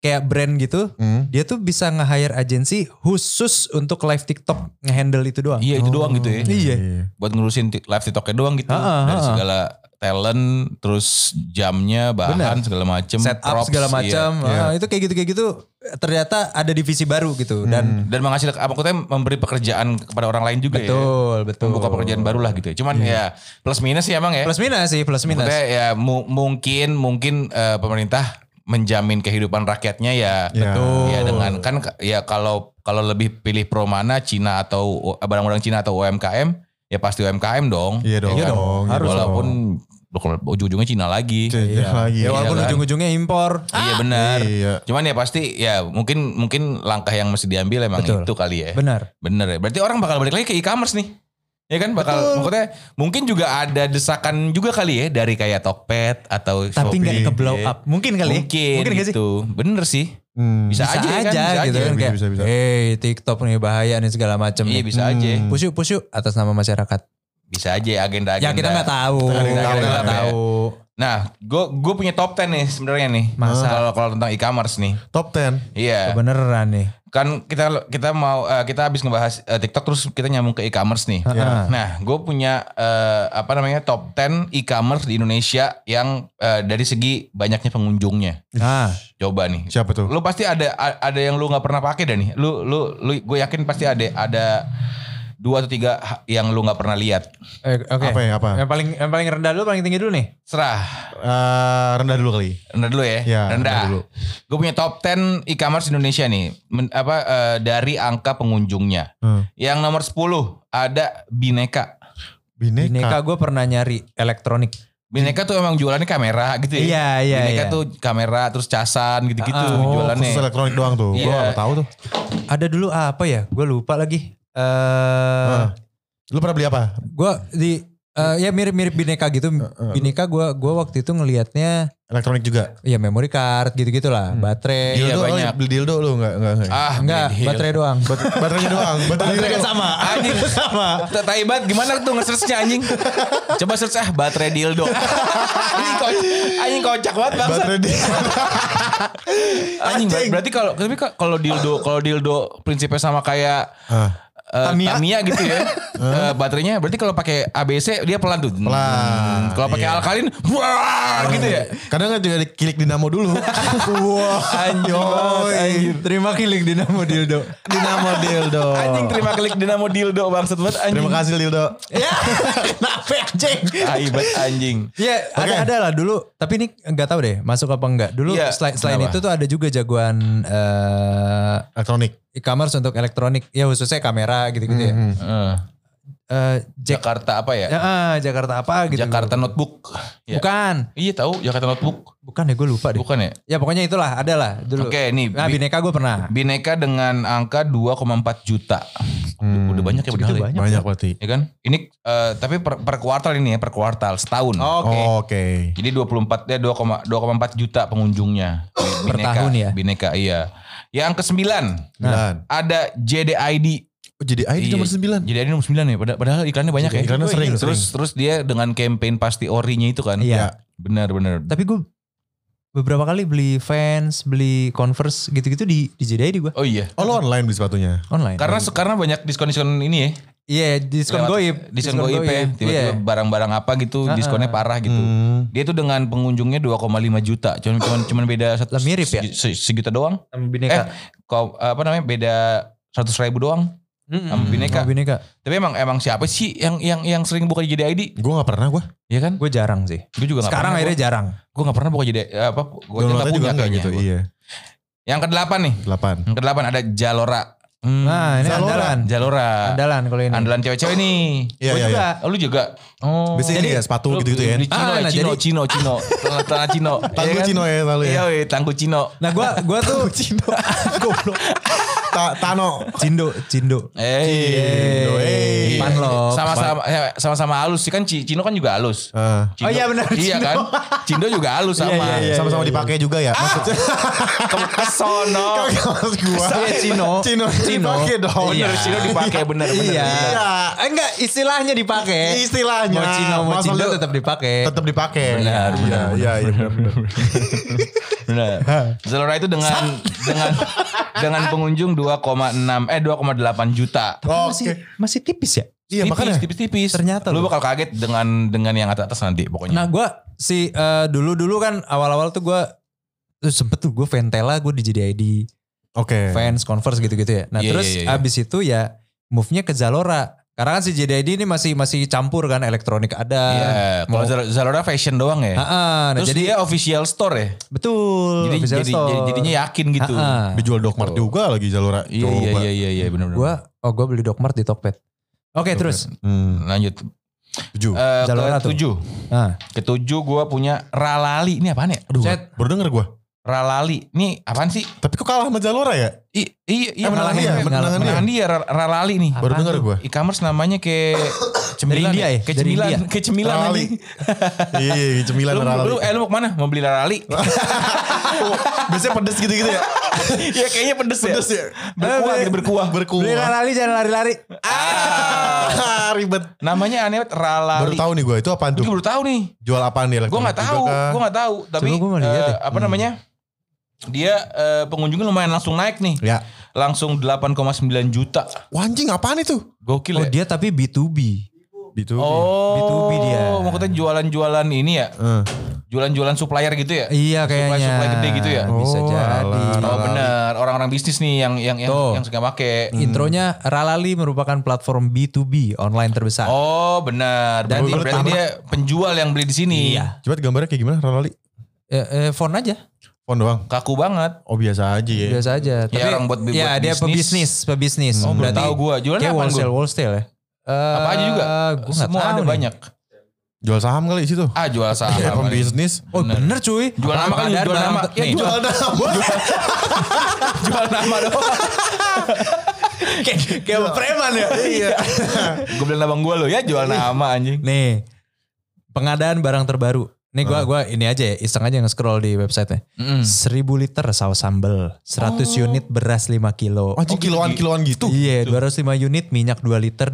kayak brand gitu,
Hmm.
dia tuh bisa nge-hire agensi khusus untuk live TikTok nge-handle itu doang.
Iya itu doang gitu ya.
Iya.
Buat ngurusin tik- live TikToknya doang gitu.
Ha-ha,
Dari
ha-ha.
segala talent, terus jamnya, bahan
Bener.
segala macem.
Setup
props,
segala
iya.
macam. Ah, itu kayak gitu kayak gitu ternyata ada divisi baru gitu dan
Dan menghasilkan apa maksudnya memberi pekerjaan kepada orang lain juga ya.
betul betul.
Membuka pekerjaan baru lah gitu ya. Cuman ya plus minus sih emang ya.
Plus minus sih, plus minus.
Maksudnya ya mu- mungkin mungkin eh, pemerintah menjamin kehidupan rakyatnya ya.
Ya. Betul.
Ya dengan kan ka- ya kalau kalau lebih pilih pro mana Cina atau barang-barang Cina atau UMKM ya pasti UMKM dong.
Iya dong.
Ya kan?
Harus
Walaupun ujung-ujungnya Cina lagi.
Cina lagi.
Ya walaupun
Iya kan?
ujung-ujungnya impor.
Iya benar.
Iya.
Cuman ya pasti ya mungkin mungkin langkah yang mesti diambil emang
Betul.
itu kali ya.
Benar.
Bener ya. Berarti orang bakal balik lagi ke e-commerce nih. Ya kan bakal maksudnya mungkin juga ada desakan juga kali ya dari kayak Tokped atau
Tapi nggak
Shopee.
ke blow up. Mungkin kali. ya?
Mungkin,
Mungkin nggak sih?
gitu. Bener sih.
Hmm.
Bisa, aja, ya kan? Bisa
gitu
aja.
kan
Bisa,
kayak.
bisa, bisa.
"Hey, TikTok nih bahaya nih segala macam
Iya
nih."
bisa aja.
Hmm.
Push yuk, push yuk atas nama masyarakat.
Bisa aja agenda-agenda.
Ya kita nggak tahu.
Kita nggak tahu,
kan?
nggak tahu.
Nah, gue gue punya top 10 nih sebenarnya nih.
Masa?
Kalau kalau tentang e-commerce nih.
Top 10.
Iya.
Kebeneran nih.
Kan kita kita mau eh, kita habis ngebahas eh, TikTok terus kita nyambung ke e-commerce nih.
Heeh.
Nah, gue punya eh, apa namanya top 10 e-commerce di Indonesia yang eh, dari segi banyaknya pengunjungnya.
Ah,
Coba nih.
Siapa tuh?
Lu pasti ada a- ada yang lu nggak pernah pakai dah nih. Lu lu lu gue yakin pasti ada ada dua atau tiga ha- yang lu nggak pernah lihat.
eh, oke.
Apa ya, apa?
Yang paling yang paling rendah dulu paling tinggi dulu nih.
Serah.
Eh, rendah dulu kali.
Rendah dulu ya.
Ya, rendah dulu.
rendah. Gue punya top 10 e-commerce Indonesia nih. Men- apa eh, dari angka pengunjungnya.
Hmm.
Yang nomor 10 ada Bineka.
Bineka.
Bineka gue pernah nyari elektronik.
Bineka tuh emang jualannya kamera gitu ya.
Iya, iya,
Bineka
iya.
tuh kamera terus casan gitu-gitu
Ah,
Oh,
jualannya.
khusus elektronik doang tuh. Gue
Iya.
gak tahu tuh.
Ada dulu apa ya? Gue lupa lagi. Eh,
Heeh. Lu pernah beli apa?
gue di eh, ya mirip-mirip bineka gitu. Bineka gue gua waktu itu ngelihatnya
elektronik juga.
Iya memory card gitu-gitulah, baterai.
Iya,
Dildo, oh,
banyak.
beli dildo lu enggak enggak. enggak.
Ah,
Enggak,
Green Hill.
baterai doang.
Bat- baterainya doang. Baterainya
Baterainya sama.
Anjing.
sama.
Ta- Tai banget gimana tuh nge-searchnya anjing. Coba search ah baterai dildo. anjing kocak, anjing kocak banget bangsa.
baterai di
Anjing ber- berarti kalau tapi ka- kalau dildo kalau dildo prinsipnya sama kayak
Ah.
eh,
Tamiya?
Tamiya gitu ya. Eh, baterainya berarti kalau pakai ABC dia pelan tuh. Hmm,
Pelan,
Kalau pakai
iya.
alkalin wah gitu ya.
Kadang kan juga dikilik dinamo dulu. Wah,
Anjir. anjir. Terima kilik dinamo dildo.
dinamo dildo.
Anjing terima klik dinamo dildo bangsat banget anjing.
Terima kasih dildo.
ya, nape anjing.
Tai banget anjing.
Ya
Oke.
ada ada lah dulu. Tapi ini nggak tahu deh masuk apa enggak. Dulu
Iya,
selain, selain
kenapa?
itu tuh ada juga jagoan eh,
Elektronik.
e-commerce untuk elektronik. Ya khususnya kamera gitu-gitu ya.
Hmm.
Eh,
Eh, Jack,
Jakarta apa ya?
ya, eh, Jakarta apa gitu.
Jakarta Notebook. Ya.
Bukan.
Iya tahu Jakarta Notebook.
Bukan ya gue lupa deh.
Bukan ya?
Ya pokoknya itulah ada lah dulu.
Oke, nih,
Nah
bi-
Bineka gue pernah.
Bineka dengan angka 2,4 juta.
Hmm.
Udah banyak ya
Segitu
padahal ya.
banyak.
Banyak berarti.
Ya kan? Ini eh, tapi per, per kuartal ini ya, per kuartal setahun.
Oh, Oke.
Jadi 24 ya 2,4 juta pengunjungnya. Bi-
Per tahun ya?
Bineka iya. Yang ke-9
Sembilan.
ada JDID.
Nah, Oh, jadi ID nomor
Iya,
sembilan.
JDID nomor 9 ya. Pada- Padahal iklannya banyak ya.
Iklannya sering,
Terus terus dia dengan campaign pasti orinya itu kan.
Iya.
Benar benar.
Tapi gue beberapa kali beli fans, beli converse gitu-gitu di di JDI di gue
Oh iya.
Oh, lo online beli sepatunya.
online.
Karena karena banyak diskon-diskon ini ya.
Iya diskon
Lewat
goib.
Diskon goib ya.
Iya.
Tiba-tiba barang-barang apa gitu
Ah,
diskonnya
ah.
parah gitu.
Hmm.
Dia tuh dengan pengunjungnya 2,5 juta. Cuman cuman, cuman beda satu
Lah, mirip ya?
se- segitu doang.
Sama Bineka.
Eh, kau apa namanya? Beda 100 ribu doang.
Mm-mm.
sama Bineka.
Sama Bineka.
Tapi emang emang siapa sih yang yang yang sering buka jadi ID?
Gue gak pernah gue.
Ya kan?
Gue jarang sih.
Gue juga nggak
Sekarang
pernah.
akhirnya jarang.
gue nggak pernah buka jadi eh, apa? Gue
Downloadnya juga enggak gitu.
Gitu,
Iya.
Yang ke delapan nih.
Delapan.
Yang ke delapan ada Jalora. Hmm,
Nah ini
Zalora.
andalan.
Jalora.
Andalan kalau ini.
Andalan cewek-cewek nih.
Iya, iya,
Gua
iya.
juga.
Oh, lu juga.
Hmm.
Oh.
Biasanya ini ya, sepatu gitu-gitu ya.
Di Cino,
Ah,
ya,
nah,
Cino,
jadi-
Cino, Cino, Tanah- tanah Cino.
Tangguh
Iya kan?
Cino ya lalu ya.
Iya, weh, tangguh Cino.
Nah gue gua tuh
Cino. Goblok. Ta- Tano.
Cindo, Cindo.
Eh,
Cino, eh.
Iya.
Panlok.
Sama-sama, eh, sama-sama halus sih kan Ci- Cino kan juga halus.
Ah.
Cino-
Oh iya, benar,
Iya
Cino.
kan, Cindo juga halus sama.
Iya, Ah!
Sama-sama dipakai juga ya. Maksudnya
Ke- Kesono.
Kagak maksud gua.
Iya, Cino.
Cino.
Cino.
Dipakai dong.
Bener, Cino dipakai bener, bener.
Iya.
bener.
Eh, Enggak istilahnya dipakai.
Istilahnya.
Mau Cino, mau
Masa
Cindo
lu-
tetap dipakai.
Tetap dipakai.
Benar,
Iya,
benar,
Iya, iya. benar.
Benar. Zalora itu dengan dengan dengan pengunjung 2,6 eh 2,8 juta.
Tapi masih,
Oke.
masih tipis ya.
Iya, makanya.
tipis-tipis.
Ternyata
lu
loh.
bakal kaget dengan dengan yang atas atas nanti pokoknya.
Nah gue si eh, dulu-dulu kan awal-awal tuh gue tuh sempet tuh gue Ventela gue di JDID
Oke.
fans converse gitu-gitu ya. Nah
Iya,
terus
iya, iya.
abis itu ya move-nya ke Zalora. Karena kan si JDID ini masih masih campur kan elektronik ada.
Iya, kalau
mau-
Zal- Zalora fashion doang ya.
Ah, ah, nah
Terus
jadi
dia official store ya.
betul.
Jadi,
official
jadi,
store.
jadi- jadinya yakin gitu.
Ah, ah.
Dijual Dogmart juga lagi Jalura.
Iya iya iya iya iya benar
Gue oh gue beli Dokmart di Tokped. Oke terus.
Hmm,
lanjut.
tujuh.
Eh,
Zalora
ke
tuh.
tujuh.
Ah,
Ketujuh gue punya Ralali. Ini apaan ya?
Aduh,
Cet.
baru denger gue.
Ralali. Ini apaan sih?
Tapi kok kalah sama Jalura ya?
I- iya, iya,
Eh, menang
ngalahin-
dia, menang dia.
menang dia, Ra- Ralali nih.
Baru
Apaan
denger
tuh?
gue.
E-commerce namanya kayak cemilan
Dari India ya?
Kayak
Dari
cemilan,
India.
kayak cemilan
Ralali.
anjing.
Iya, cemilan
Lu,
Ralali.
lu, eh lu mau kemana? Mau beli ralali?
Biasanya pedes gitu-gitu ya.
ya kayaknya pedes,
Pedes
ya.
ya.
Berkuah, gitu, berkuah.
beli
Berkuah. Iya
lari jangan lari-lari.
Ah,
Ah.
ribet.
Namanya aneh banget ralali.
Baru tahu nih gue itu apaan
Gue
tuh?
baru tahu nih.
Jual apaan di elektronik
Gue nggak tahu,
juga kah?
gue nggak tahu. Tapi
Coba gua mau lihat ya. Hmm.
eh,
deh.
apa namanya? Dia eh, pengunjungnya lumayan langsung naik nih.
Ya.
Langsung 8,9 juta.
Wah, anjing apaan itu?
Gokil
Oh
ya.
dia tapi B2B.
Gitu.
Oh,
B2B dia.
maksudnya jualan-jualan ini ya,
Eh.
jualan-jualan supplier gitu ya?
Iya kayaknya. iya.
Supply-supply gede gitu ya?
Bisa
Oh,
jadi.
alah.
Oh
Ralali.
benar, orang-orang bisnis nih yang yang yang,
Tuh.
yang suka make.
Iya. Mm-hmm. Intronya Ralali merupakan platform B2B online terbesar.
Oh benar,
Dan
berarti,
yang
berarti
pertama-
dia penjual yang beli di sini.
Iya.
Coba gambarnya kayak gimana Ralali?
Eh, eh, font aja,
Font doang.
Kaku banget.
Oh biasa aja ya.
biasa aja. Tapi
Iya. orang buat- buat
ya, dia
bisnis.
pebisnis, pebisnis.
Oh, belum tahu gua. Jualan
kayak
apaan
wholesale,
gua?
wholesale ya. Eh,
Apa aja juga?
Gua nggak
Semua
tahu
ada
nih.
banyak.
Jual saham kali di situ.
Ah jual saham.
Ya,
kali.
pembisnis.
Oh bener, cuy.
Jual nama kan,
Ada
jual
barang-
nama.
Ya,
Nih.
jual
jual nama doang.
kayak kayak preman ya. Iya.
gue bilang abang gue lo ya jual nama anjing.
Nih, pengadaan barang terbaru. Ini
Hmm.
gua gua ini aja ya, iseng aja nge-scroll di websitenya.
Mm-mm.
1000 liter saus sambal, 100
Oh.
unit beras 5 kilo.
Oh, anjing, kiloan-kiloan gitu.
Iya, 205 unit, minyak 2 liter,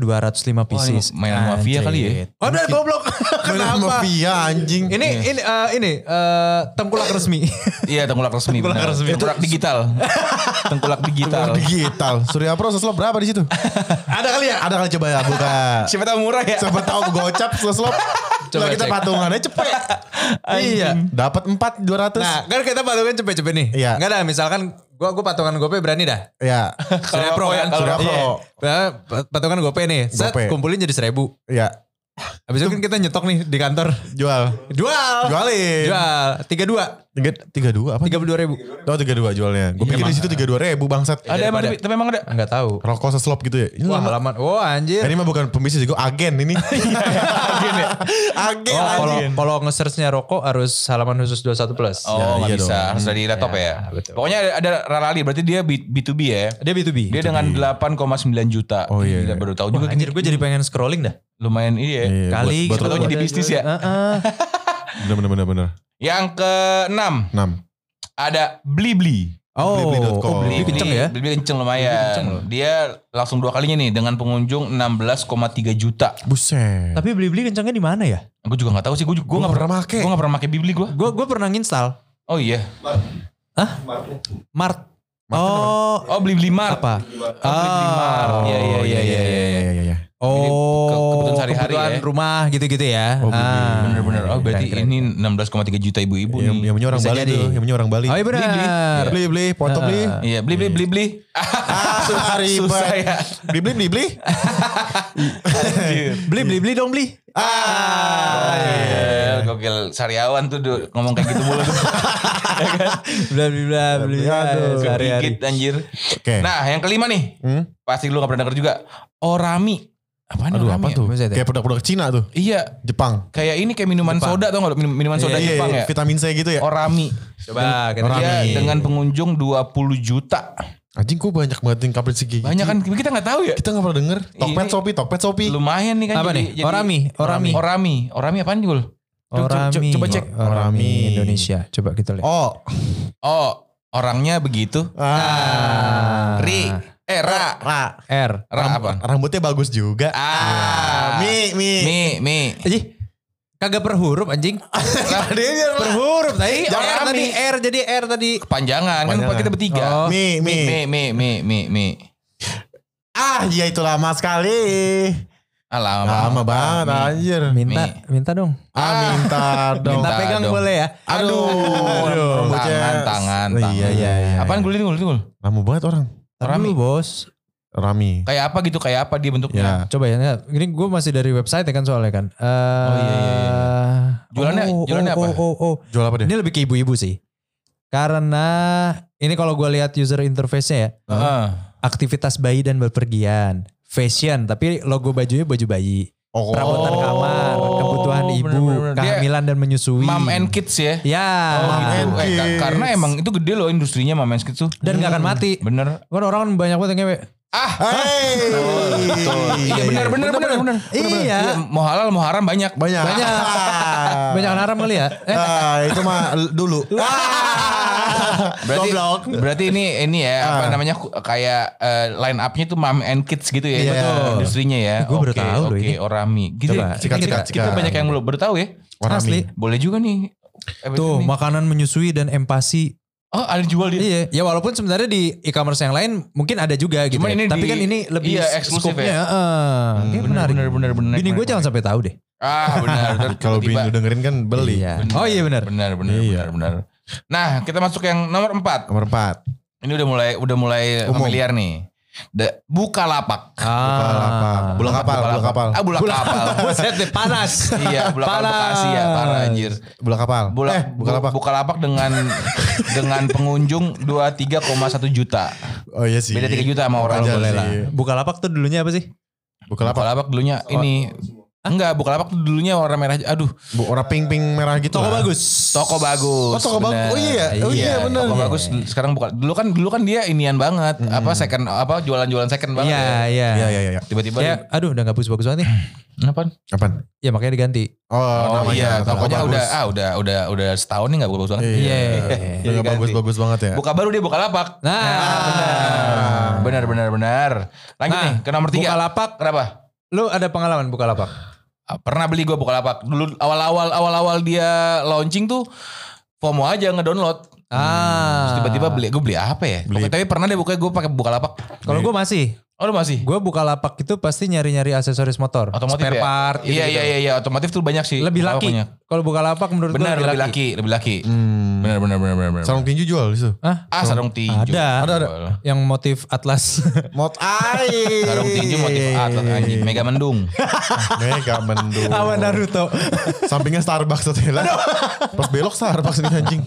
Wah,
205
ini
pieces.
mainan mafia kali ya?
Oh, udah goblok.
Mainan
Kenapa?
mafia anjing.
Ini ini eh, ini eh, tengkulak resmi.
Iya tengkulak resmi.
Tengkulak
benar. Eh,
resmi.
Tengkulak digital. tengkulak digital.
digital. Surya Pro seslop berapa di situ?
Ada kali ya?
Ada kali coba ya buka.
Siapa tahu murah ya?
Siapa tahu gocap seslop. Coba
Coba
kita
cek.
patungannya cepet.
Iya.
Dapat 4 200.
Nah, kan kita patungan cepet-cepet nih.
Iya.
Enggak dah, misalkan gua gua patungan GoPay berani dah.
ya.
Surya Pro kan?
kalau-
Surya Pro.
Iya. Pat- Patungan GoPay nih. Set,
GoPay.
kumpulin jadi 1000.
Ya,
Habis itu kan kita nyetok nih di kantor.
jual.
Jual.
Jualin.
Jual. 32.
Tiga, tiga dua apa?
32 ribu.
Oh tiga dua jualnya. Gue pikir di situ tiga dua ribu bangsat.
Ada emang tapi, tapi emang ada.
Enggak tahu.
Rokok seslop gitu ya. Ini
Wah
nama-
halaman. Oh anjir.
ini mah bukan pembisnis, gue agen ini.
Iya.
agen ya? Agen,
Oh, kalau
agen.
kalau nge-searchnya rokok harus halaman khusus 21 plus.
Oh
Ya,
nggak
iya
bisa.
dong.
Harus dari laptop
Ya,
ya.
betul.
Pokoknya ada, ada Rarali. Berarti dia B- B2B ya.
Dia B2B.
Dia dengan 8,9 juta.
Oh, iya,
Gila,
iya.
baru tahu
Wah,
juga.
anjir
Anjir,
gue jadi pengen scrolling dah.
lumayan iya.
Iya,
Kali
buat-
siapa
buat-
tahu jadi
ada-
bisnis ya.
Heeh.
Bener bener bener bener.
Yang keenam
Enam.
ada Blibli.
Oh,
Blibli.com.
oh, beli
Blibli.
kenceng ya.
Blibli kenceng lumayan. Dia langsung dua kalinya nih dengan pengunjung 16,3 juta.
Buset.
Tapi beli-beli kencengnya di mana ya?
Gue juga gak tahu sih. Gue gue gak pernah
make.
Gue gak pernah pakai Blibli gue.
Gue gue pernah nginstal
Oh iya.
Mart. Oh,
Oh Blibli Mart.
apa?
Mart.
Oh,
Iya, iya, iya, iya, iya.
iya, iya, iya.
Ini ke-
Oh,
kebutuhan sehari-hari
kebutuhan
ya.
rumah gitu-gitu ya.
Oh, beli-beli.
Ah.
Bener-bener. Oh berarti
Keren, keren.
ini 16,3 juta ibu-ibu
Yang,
nih.
yang punya orang
Bisa
Bali
jadi.
tuh, yang punya orang Bali.
Oh iya benar.
Beli beli, foto beli.
Iya, beli beli beli beli.
Susah
Susah ya.
Beli beli beli beli.
Beli beli beli dong beli.
Ah, iya. Gokil Sariawan tuh Du, ngomong kayak gitu mulu.
Bla bla bla bla.
Aduh.
Sehari-hari.
Gigit anjir.
Oke.
Nah, yang kelima nih.
Eh. Hmm?
Pasti lu gak pernah denger juga. Orami. Apaan
Aduh apa
Orami ya?
tuh?
Buset ya?
Kayak produk-produk Cina tuh,
Iya,
Jepang.
kayak ini kayak minuman
Jepang.
soda tau gak? Minum- Minuman soda
Iya,
Jepang
iya,
ya.
vitamin C gitu ya.
Orami.
Coba kita
Dia
Orami.
dengan pengunjung 20 juta.
Anjing kok banyak banget yang kabar segi.
Banyak kan kita nggak tahu ya.
Kita gak pernah denger. Tokped
Ini-
Shopee, Tokped Shopee.
Lumayan nih kan.
Apa nih? Orami, orami.
Orami. Orami apaan Jul? Coba- coba-
Orami.
Coba cek.
Orami
Orami.
Indonesia. Coba kita lihat.
Oh.
Oh, orangnya begitu.
Ah.
Ah.
Ri. Eh, Ra.
Ra.
R.
Ra apa?
Rambutnya bagus juga. Iya.
Ah.
Mi, mi.
Mi, mi.
Anjing. Kagak per huruf anjing. per huruf tadi.
Jangan
R
Rami.
tadi R jadi R tadi.
Kepanjangan kan
Kepanjangan.
kita bertiga.
Oh.
Mi, mi.
Mi, mi, mi, mi, mi.
Ah, iya itu lama sekali.
Ah, lama.
Lama banget
Mi.
anjir.
Minta minta dong.
Ah, minta dong.
Minta
Minta
pegang
dong.
boleh ya.
Aduh,
Aduh,
rambutnya.
tangan, tangan,
Iya,
tangan.
iya, iya, iya.
Apaan gue lihat gue
Lama banget orang.
Orami bos.
Rami.
Kayak apa gitu, kayak apa dia bentuknya.
Ya.
Coba ya, nggak. ini gue masih dari website ya kan soalnya kan. Eh,
Oh, iya, iya, Jualannya-
oh,
jualannya
oh,
apa?
Oh, oh, oh.
Jual apa dia?
Ini lebih ke ibu-ibu sih. Karena ini kalau gue lihat user interface-nya ya,
Heeh.
aktivitas bayi dan bepergian, fashion, tapi logo bajunya baju bayi,
Oh,
perawatan
Oh,
kamar, kebutuhan ibu,
bener-bener. Dia
kehamilan dan menyusui.
Mom and kids ya.
Ya.
Oh, gitu.
and
Eh, ka-
kids.
karena emang itu gede loh industrinya Mom and kids tuh. Hmm.
Dan nggak akan mati.
Bener. Ah,
Kan orang kan banyak banget yang ngewe.
Hey.
Iya bener, bener, bener, bener. Iya,
Iya.
mau halal mau haram banyak.
Banyak.
Banyak. Banyak yang haram kali ya. Eh,
Ah, itu mah l- dulu.
Berarti,
Goblok.
berarti ini ini ya apa
Ah.
namanya ku- kayak eh, line up-nya tuh mom and kids gitu ya.
Iya.
Betul. Industrinya ya.
Eh, gua baru
Oke,
tahu loh
Oke,
ini.
orami. Gitu
Coba,
ya. Kita,
sikat,
kita,
sikat.
kita banyak yang belum baru tahu ya.
Warna
asli.
mie.
Boleh juga nih. Eh, ini.
Tuh, makanan menyusui dan empati
Oh, ada jual di
Iya, ya walaupun sebenarnya di e-commerce yang lain mungkin ada juga gitu.
Cuman
ya.
ini
Tapi
di-
kan ini lebih
iya, eksklusif
skopnya,
ya.
heeh. Kayaknya
bener,
menarik.
bener, bener, bener,
Bini gue
menarik,
jangan sampai tahu deh.
Ah, benar. Ntar
Kalau
tiba-tiba-
Bini dengerin kan beli.
Iya. Oh iya benar.
Benar, benar,
Iya.
benar, benar. Nah, kita masuk yang nomor empat.
Nomor 4.
Ini udah mulai udah mulai
Umum.
familiar nih. Da, buka lapak.
Ah.
Bulan kapal, bulan kapal.
Ah, bulak kapal.
Buset deh, panas.
iya, bulak kapal Bekasi ya, parah anjir.
Bulan kapal.
Bulak,
eh, bukan
bu-
lapak.
Bukalapak dengan dengan pengunjung 23,1 juta.
Oh iya sih.
Beda 3 juta sama orang
Wajar
boleh
sih.
lah.
Buka lapak tuh dulunya apa sih?
Bukan lapak.
Bukalapak dulunya ini ah, Enggak, Bukalapak tuh dulunya warna merah. Aduh,
Bu, orang pink-pink merah gitu.
Toko
lah.
bagus.
toko
Oh,
bagus.
toko bagus.
bener.
Oh iya, oh iya, bener.
Toko
Iya, Hmm.
bagus. Sekarang bukan. Dulu kan dulu kan dia inian banget. Apa second apa jualan-jualan second banget.
Iya,
ya.
iya.
Iya, iya, iya. Ya.
Tiba-tiba
Ya, aduh udah gak bagus-bagus banget nih.
Apaan?
Apaan?
Ya makanya diganti.
Oh,
Oh iya,
toko
tokonya
bagus.
udah ah udah udah udah setahun nih nggak bagus banget.
Iya.
Iya,
Udah
ganti.
bagus-bagus banget ya.
Buka baru dia buka lapak.
Nah,
Ya,
Ah.
benar benar benar. Lanjut
Nah,
nih ke nomor tiga.
Bukalapak,
Kenapa?
lu ada pengalaman Bukalapak?
Ah, Pernah beli gua buka lapak. Dulu awal-awal awal-awal dia launching tuh FOMO aja ngedownload.
Ah.
Terus tiba-tiba beli gue beli apa ya?
Beli.
Pokoknya- tapi pernah deh buka gue pakai buka lapak.
Kalau gue masih,
Oh lu masih?
gue Bukalapak itu pasti nyari-nyari aksesoris motor,
Otomotif
spare
ya?
part, gitu
Iya iya iya iya otomotif tuh banyak sih.
Lebih
Buka
laki.
lapaknya.
Kalau Bukalapak menurut gue
Benar lebih laki, lebih laki.
Hmm.
Benar benar benar benar. benar.
Sarung tinju jual di situ.
Hah?
ah sarung tinju.
Ada.
Ada, ada.
Yang motif atlas.
Mot ai.
Sarung tinju motif
Iya,
atlet anjing. Mega mendung.
Mega mendung.
Awan Naruto.
Sampingnya Starbucks tuh Tela. Pas belok Starbucks nih anjing.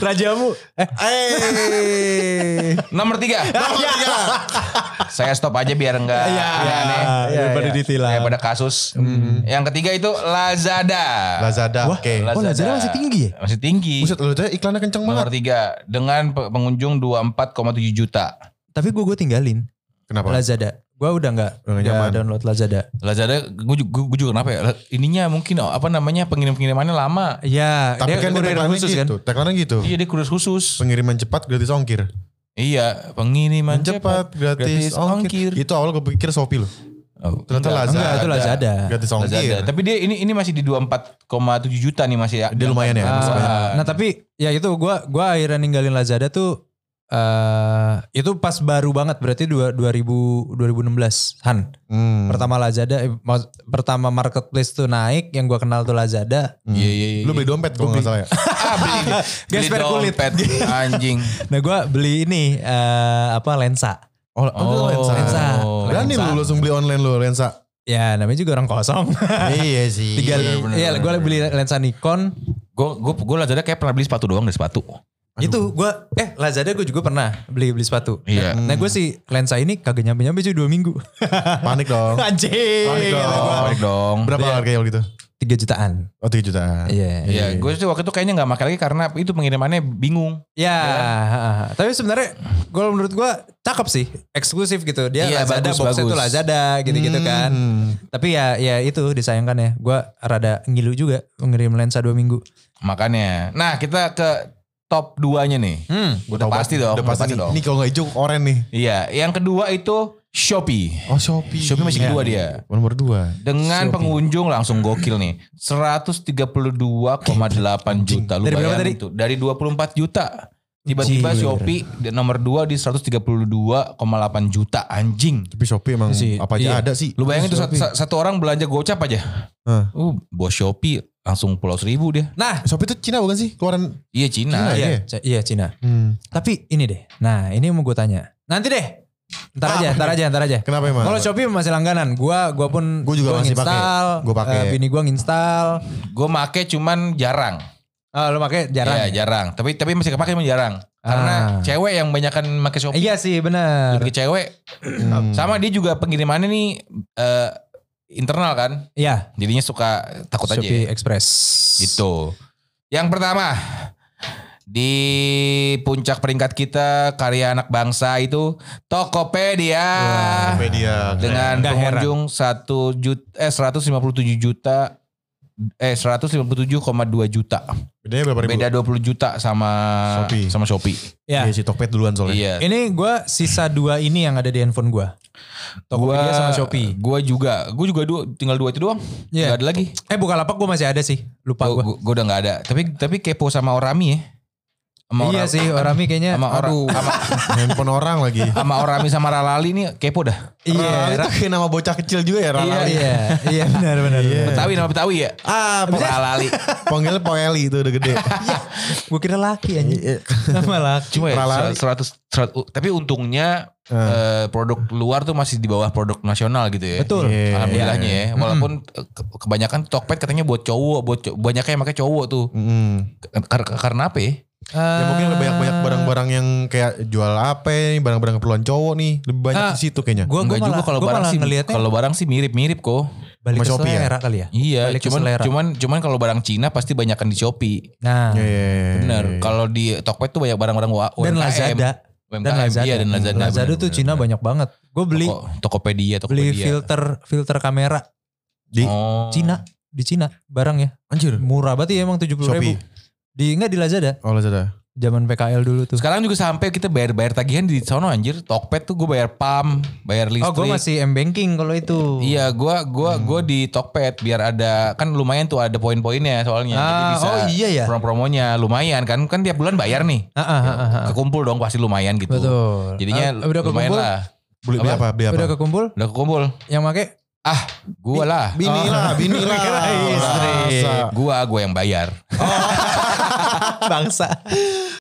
Rajamu. Eh,
Eh.
Nomor tiga.
Iya.
Saya stop aja biar enggak aneh-aneh.
iya, daripada
iya.
ditilang.
Daripada kasus. Yang ketiga itu Lazada.
Lazada. Oke.
Lazada.
Oh, Lazada masih tinggi ya?
Masih tinggi.
Buset lu tuh iklannya kenceng banget.
Nomor tiga dengan pe- pengunjung 24,7 juta.
tapi gue gue tinggalin
Kenapa?
Lazada. Gue udah nggak
Udah nggak
nggak
nyaman.
download Lazada.
Lazada, gue juga, gua juga kenapa ya? La- Ininya mungkin oh, apa namanya pengirim pengirimannya lama.
Iya,
Tapi kan dia
kurir
iklannya gitu. Teklannya gitu.
Iya dia kurus khusus.
Pengiriman cepat gratis ongkir.
iya pengiriman cepat.
Cepat gratis,
gratis
ongkir.
ongkir.
Itu awal gue pikir Shopee loh.
Oh,
Ternyata Lazada.
enggak.
Enggak, itu Nah, Lazada.
Gratis ongkir.
Lazada. Tapi dia ini ini masih di 24,7 juta nih masih ya.
Dia lumayan ya.
Ah,
masih banyak.
nah tapi ya itu gue gua akhirnya ninggalin Lazada tuh eh itu pas baru banget berarti dua- 2000 2016-an.
Hmm.
Pertama Lazada eh, mak- pertama marketplace tuh naik yang gua kenal tuh Lazada.
Iya iya iya.
Lu beli dompet kalau nggak salah ya.
ah, beli, beli
Gesper kulit.
dompet anjing.
Nah gua beli ini eh apa lensa.
Oh, oh, lensa.
lensa.
Berani
Lensa.
lu langsung beli online lu lensa.
Ya namanya juga orang kosong.
iya sih.
Tiga,
bener,
iya
bener,
gue
bener.
beli lensa Nikon.
Gue gue gue Lazada kayak pernah beli sepatu doang deh sepatu.
Aduh.
Itu gua eh Lazada gue juga pernah beli beli sepatu.
Iya.
Nah gue sih lensa ini kagak nyampe nyampe cuy dua minggu.
Panik dong.
Anjing.
Panik dong.
kata gua.
Oh, dong.
Berapa harganya waktu itu?
Tiga jutaan.
Oh 3 juta.
Iya.
Iya, gue sih waktu itu kayaknya nggak pakai lagi karena itu pengirimannya bingung.
Ya, heeh. tapi sebenarnya kalau menurut gua cakep sih, eksklusif gitu. Dia
Iya,
Lazada
bagus,
boxnya
bagus.
tuh Lazada gitu-gitu
Hmm.
kan. Tapi ya ya itu disayangkan ya. Gua rada ngilu juga ngirim lensa dua minggu.
Makanya. Nah, kita ke top 2-nya nih.
Hmm.
Udah pasti dong,
Udah pasti, nih.
dong.
Ini kalau nggak hijau oren nih.
Iya, yang kedua itu Shopee.
Oh Shopee.
Shopee masih kedua dia.
Nomor 2.
Dengan pengunjung langsung gokil nih. 132,8 juta. Lu
Dari berapa
bayangin
tadi?
tuh. Dari 24 juta. Tiba-tiba
Anjing.
Shopee di nomor 2 di 132,8 juta anjing.
Tapi Shopee emang
Sih,
apa aja
iya.
ada sih. eh,
Lu bayangin tuh satu, satu orang belanja gocap aja.
Hah.
Uh, bos Shopee langsung pulau seribu dia.
Nah,
Shopee itu Cina bukan sih? Keluaran.
Iya Cina.
Nah,
iya,
iya.
C- iya Cina.
Hmm.
Tapi ini deh. Nah, ini mau gue tanya. Nanti deh. Ntar aja, ntar aja, ntar aja.
Kenapa emang?
Kalau Shopee masih langganan, gua gua pun
Gua juga masih pakai.
install,
Gua pakai.
eh, bini gua nginstal.
Gue make cuman jarang.
Eh, lo pakai
Iya
jarang.
jarang. Tapi tapi masih kepake cuman jarang. Karena
Ah.
cewek yang banyakkan make
Eh,
Shopee.
Iya sih, benar.
Lebih ke cewek.
Hmm.
Sama dia juga pengirimannya nih eh, internal kan.
Iya,
Jadinya suka takut aja.
Shopee Express.
Gitu. Yang pertama di puncak peringkat kita karya anak bangsa itu Tokopedia.
Tokopedia.
dengan
Nggak
pengunjung
heran.
1 juta eh 157 juta eh 157,2 juta.
Bedanya berapa ribu?
Beda 20 juta sama
Shopee.
sama Shopee.
Ya.
Iya sih Tokped duluan soalnya.
Iya.
Ini gua sisa dua ini yang ada di handphone gua. Tokopedia
Gua-
sama Shopee.
Gua juga, gua juga dua, tinggal dua itu doang.
Iya.
Gak ada lagi.
Eh Bukalapak gua masih ada sih. Lupa
Gua,
gua.
gua- gua udah gak ada. Tapi tapi kepo sama Orami ya. Sama
iya
Ora-
sih, Orami kayaknya.
Sama orang
aduh.
sama,
Handphone orang lagi.
sama Orami sama Ralali nih kepo dah.
Iya,
Ralali
ra-
tuh kayak nama bocah kecil juga ya
iya,
Ralali.
iya, iya benar benar.
Iya.
benar.
Betawi nama Betawi ya.
Ah, pokoknya
Ralali.
panggil Poeli itu udah gede.
Gua kira laki anjing. Nama laki.
Iya.
Eh,
Cuma ya
Ralali.
100, 100 tapi untungnya
Eh.
eh, produk luar tuh masih di bawah produk nasional gitu ya.
Betul. Hmm.
Iya.
Alhamdulillahnya ya. Walaupun eh, ke- kebanyakan Tokped katanya buat cowok, buat cowok, banyaknya yang pakai cowok tuh.
Hmm.
Kar- kar- karena apa ya?
Ya mungkin lebih banyak-banyak barang-barang yang kayak jual apa nih, barang-barang keperluan cowok nih, lebih banyak
Ah.
di situ kayaknya.
Gua gua
Enggak
malah,
juga kalau
gua
barang
malah
sih
ngelihatnya
kalau barang sih mirip-mirip kok.
Sama
balik ke
Shopee ya?
selera kali ya.
Iya,
Balik ke
cuman
selera.
cuman cuman kalau barang Cina pasti banyakkan di Shopee.
Nah,
Iya, iya, iya,
Bener.
iya, iya.
Kalau di Tokped tuh banyak barang-barang wa-
dan
UMKM.
Lazada.
UMKM,
Dan Lazada.
Iya, dan Lazada.
Lazada
Bener,
tuh
bener,
Cina
bener.
banyak banget. Gue beli
Toko- Tokopedia,
beli
Tokopedia.
filter filter kamera
Hmm.
Di
Oh.
Cina di Cina barangnya
anjir.
murah banget ya emang tujuh puluh ribu.
Shopee.
Di enggak di Lazada
Oh Lazada.
zaman PKL dulu tuh.
Sekarang juga sampai kita bayar-bayar tagihan di sono anjir. Tokped tuh gue bayar pam, bayar
Oh
listrik.
gue masih Hmm. m banking kalau itu.
Iya, gua gua gua di Tokped biar ada kan lumayan tuh ada poin-poinnya soalnya. Jadi
Ah,
bisa
oh iya ya.
promo-promonya lumayan kan kan tiap bulan bayar nih.
Ah, ah, ah, ah, ah.
Kekumpul dong pasti lumayan gitu.
Betul.
Jadinya
Ah, udah
lumayan
kekumpul,
lah.
Beli beli apa? Beli apa?
udah kekumpul
Udah kekumpul.
yang make
Ah, gua lah. Ah,
Bini
Oh.
lah, bini lah.
Kirain istri.
Masa.
Gua gua yang bayar.
bangsa.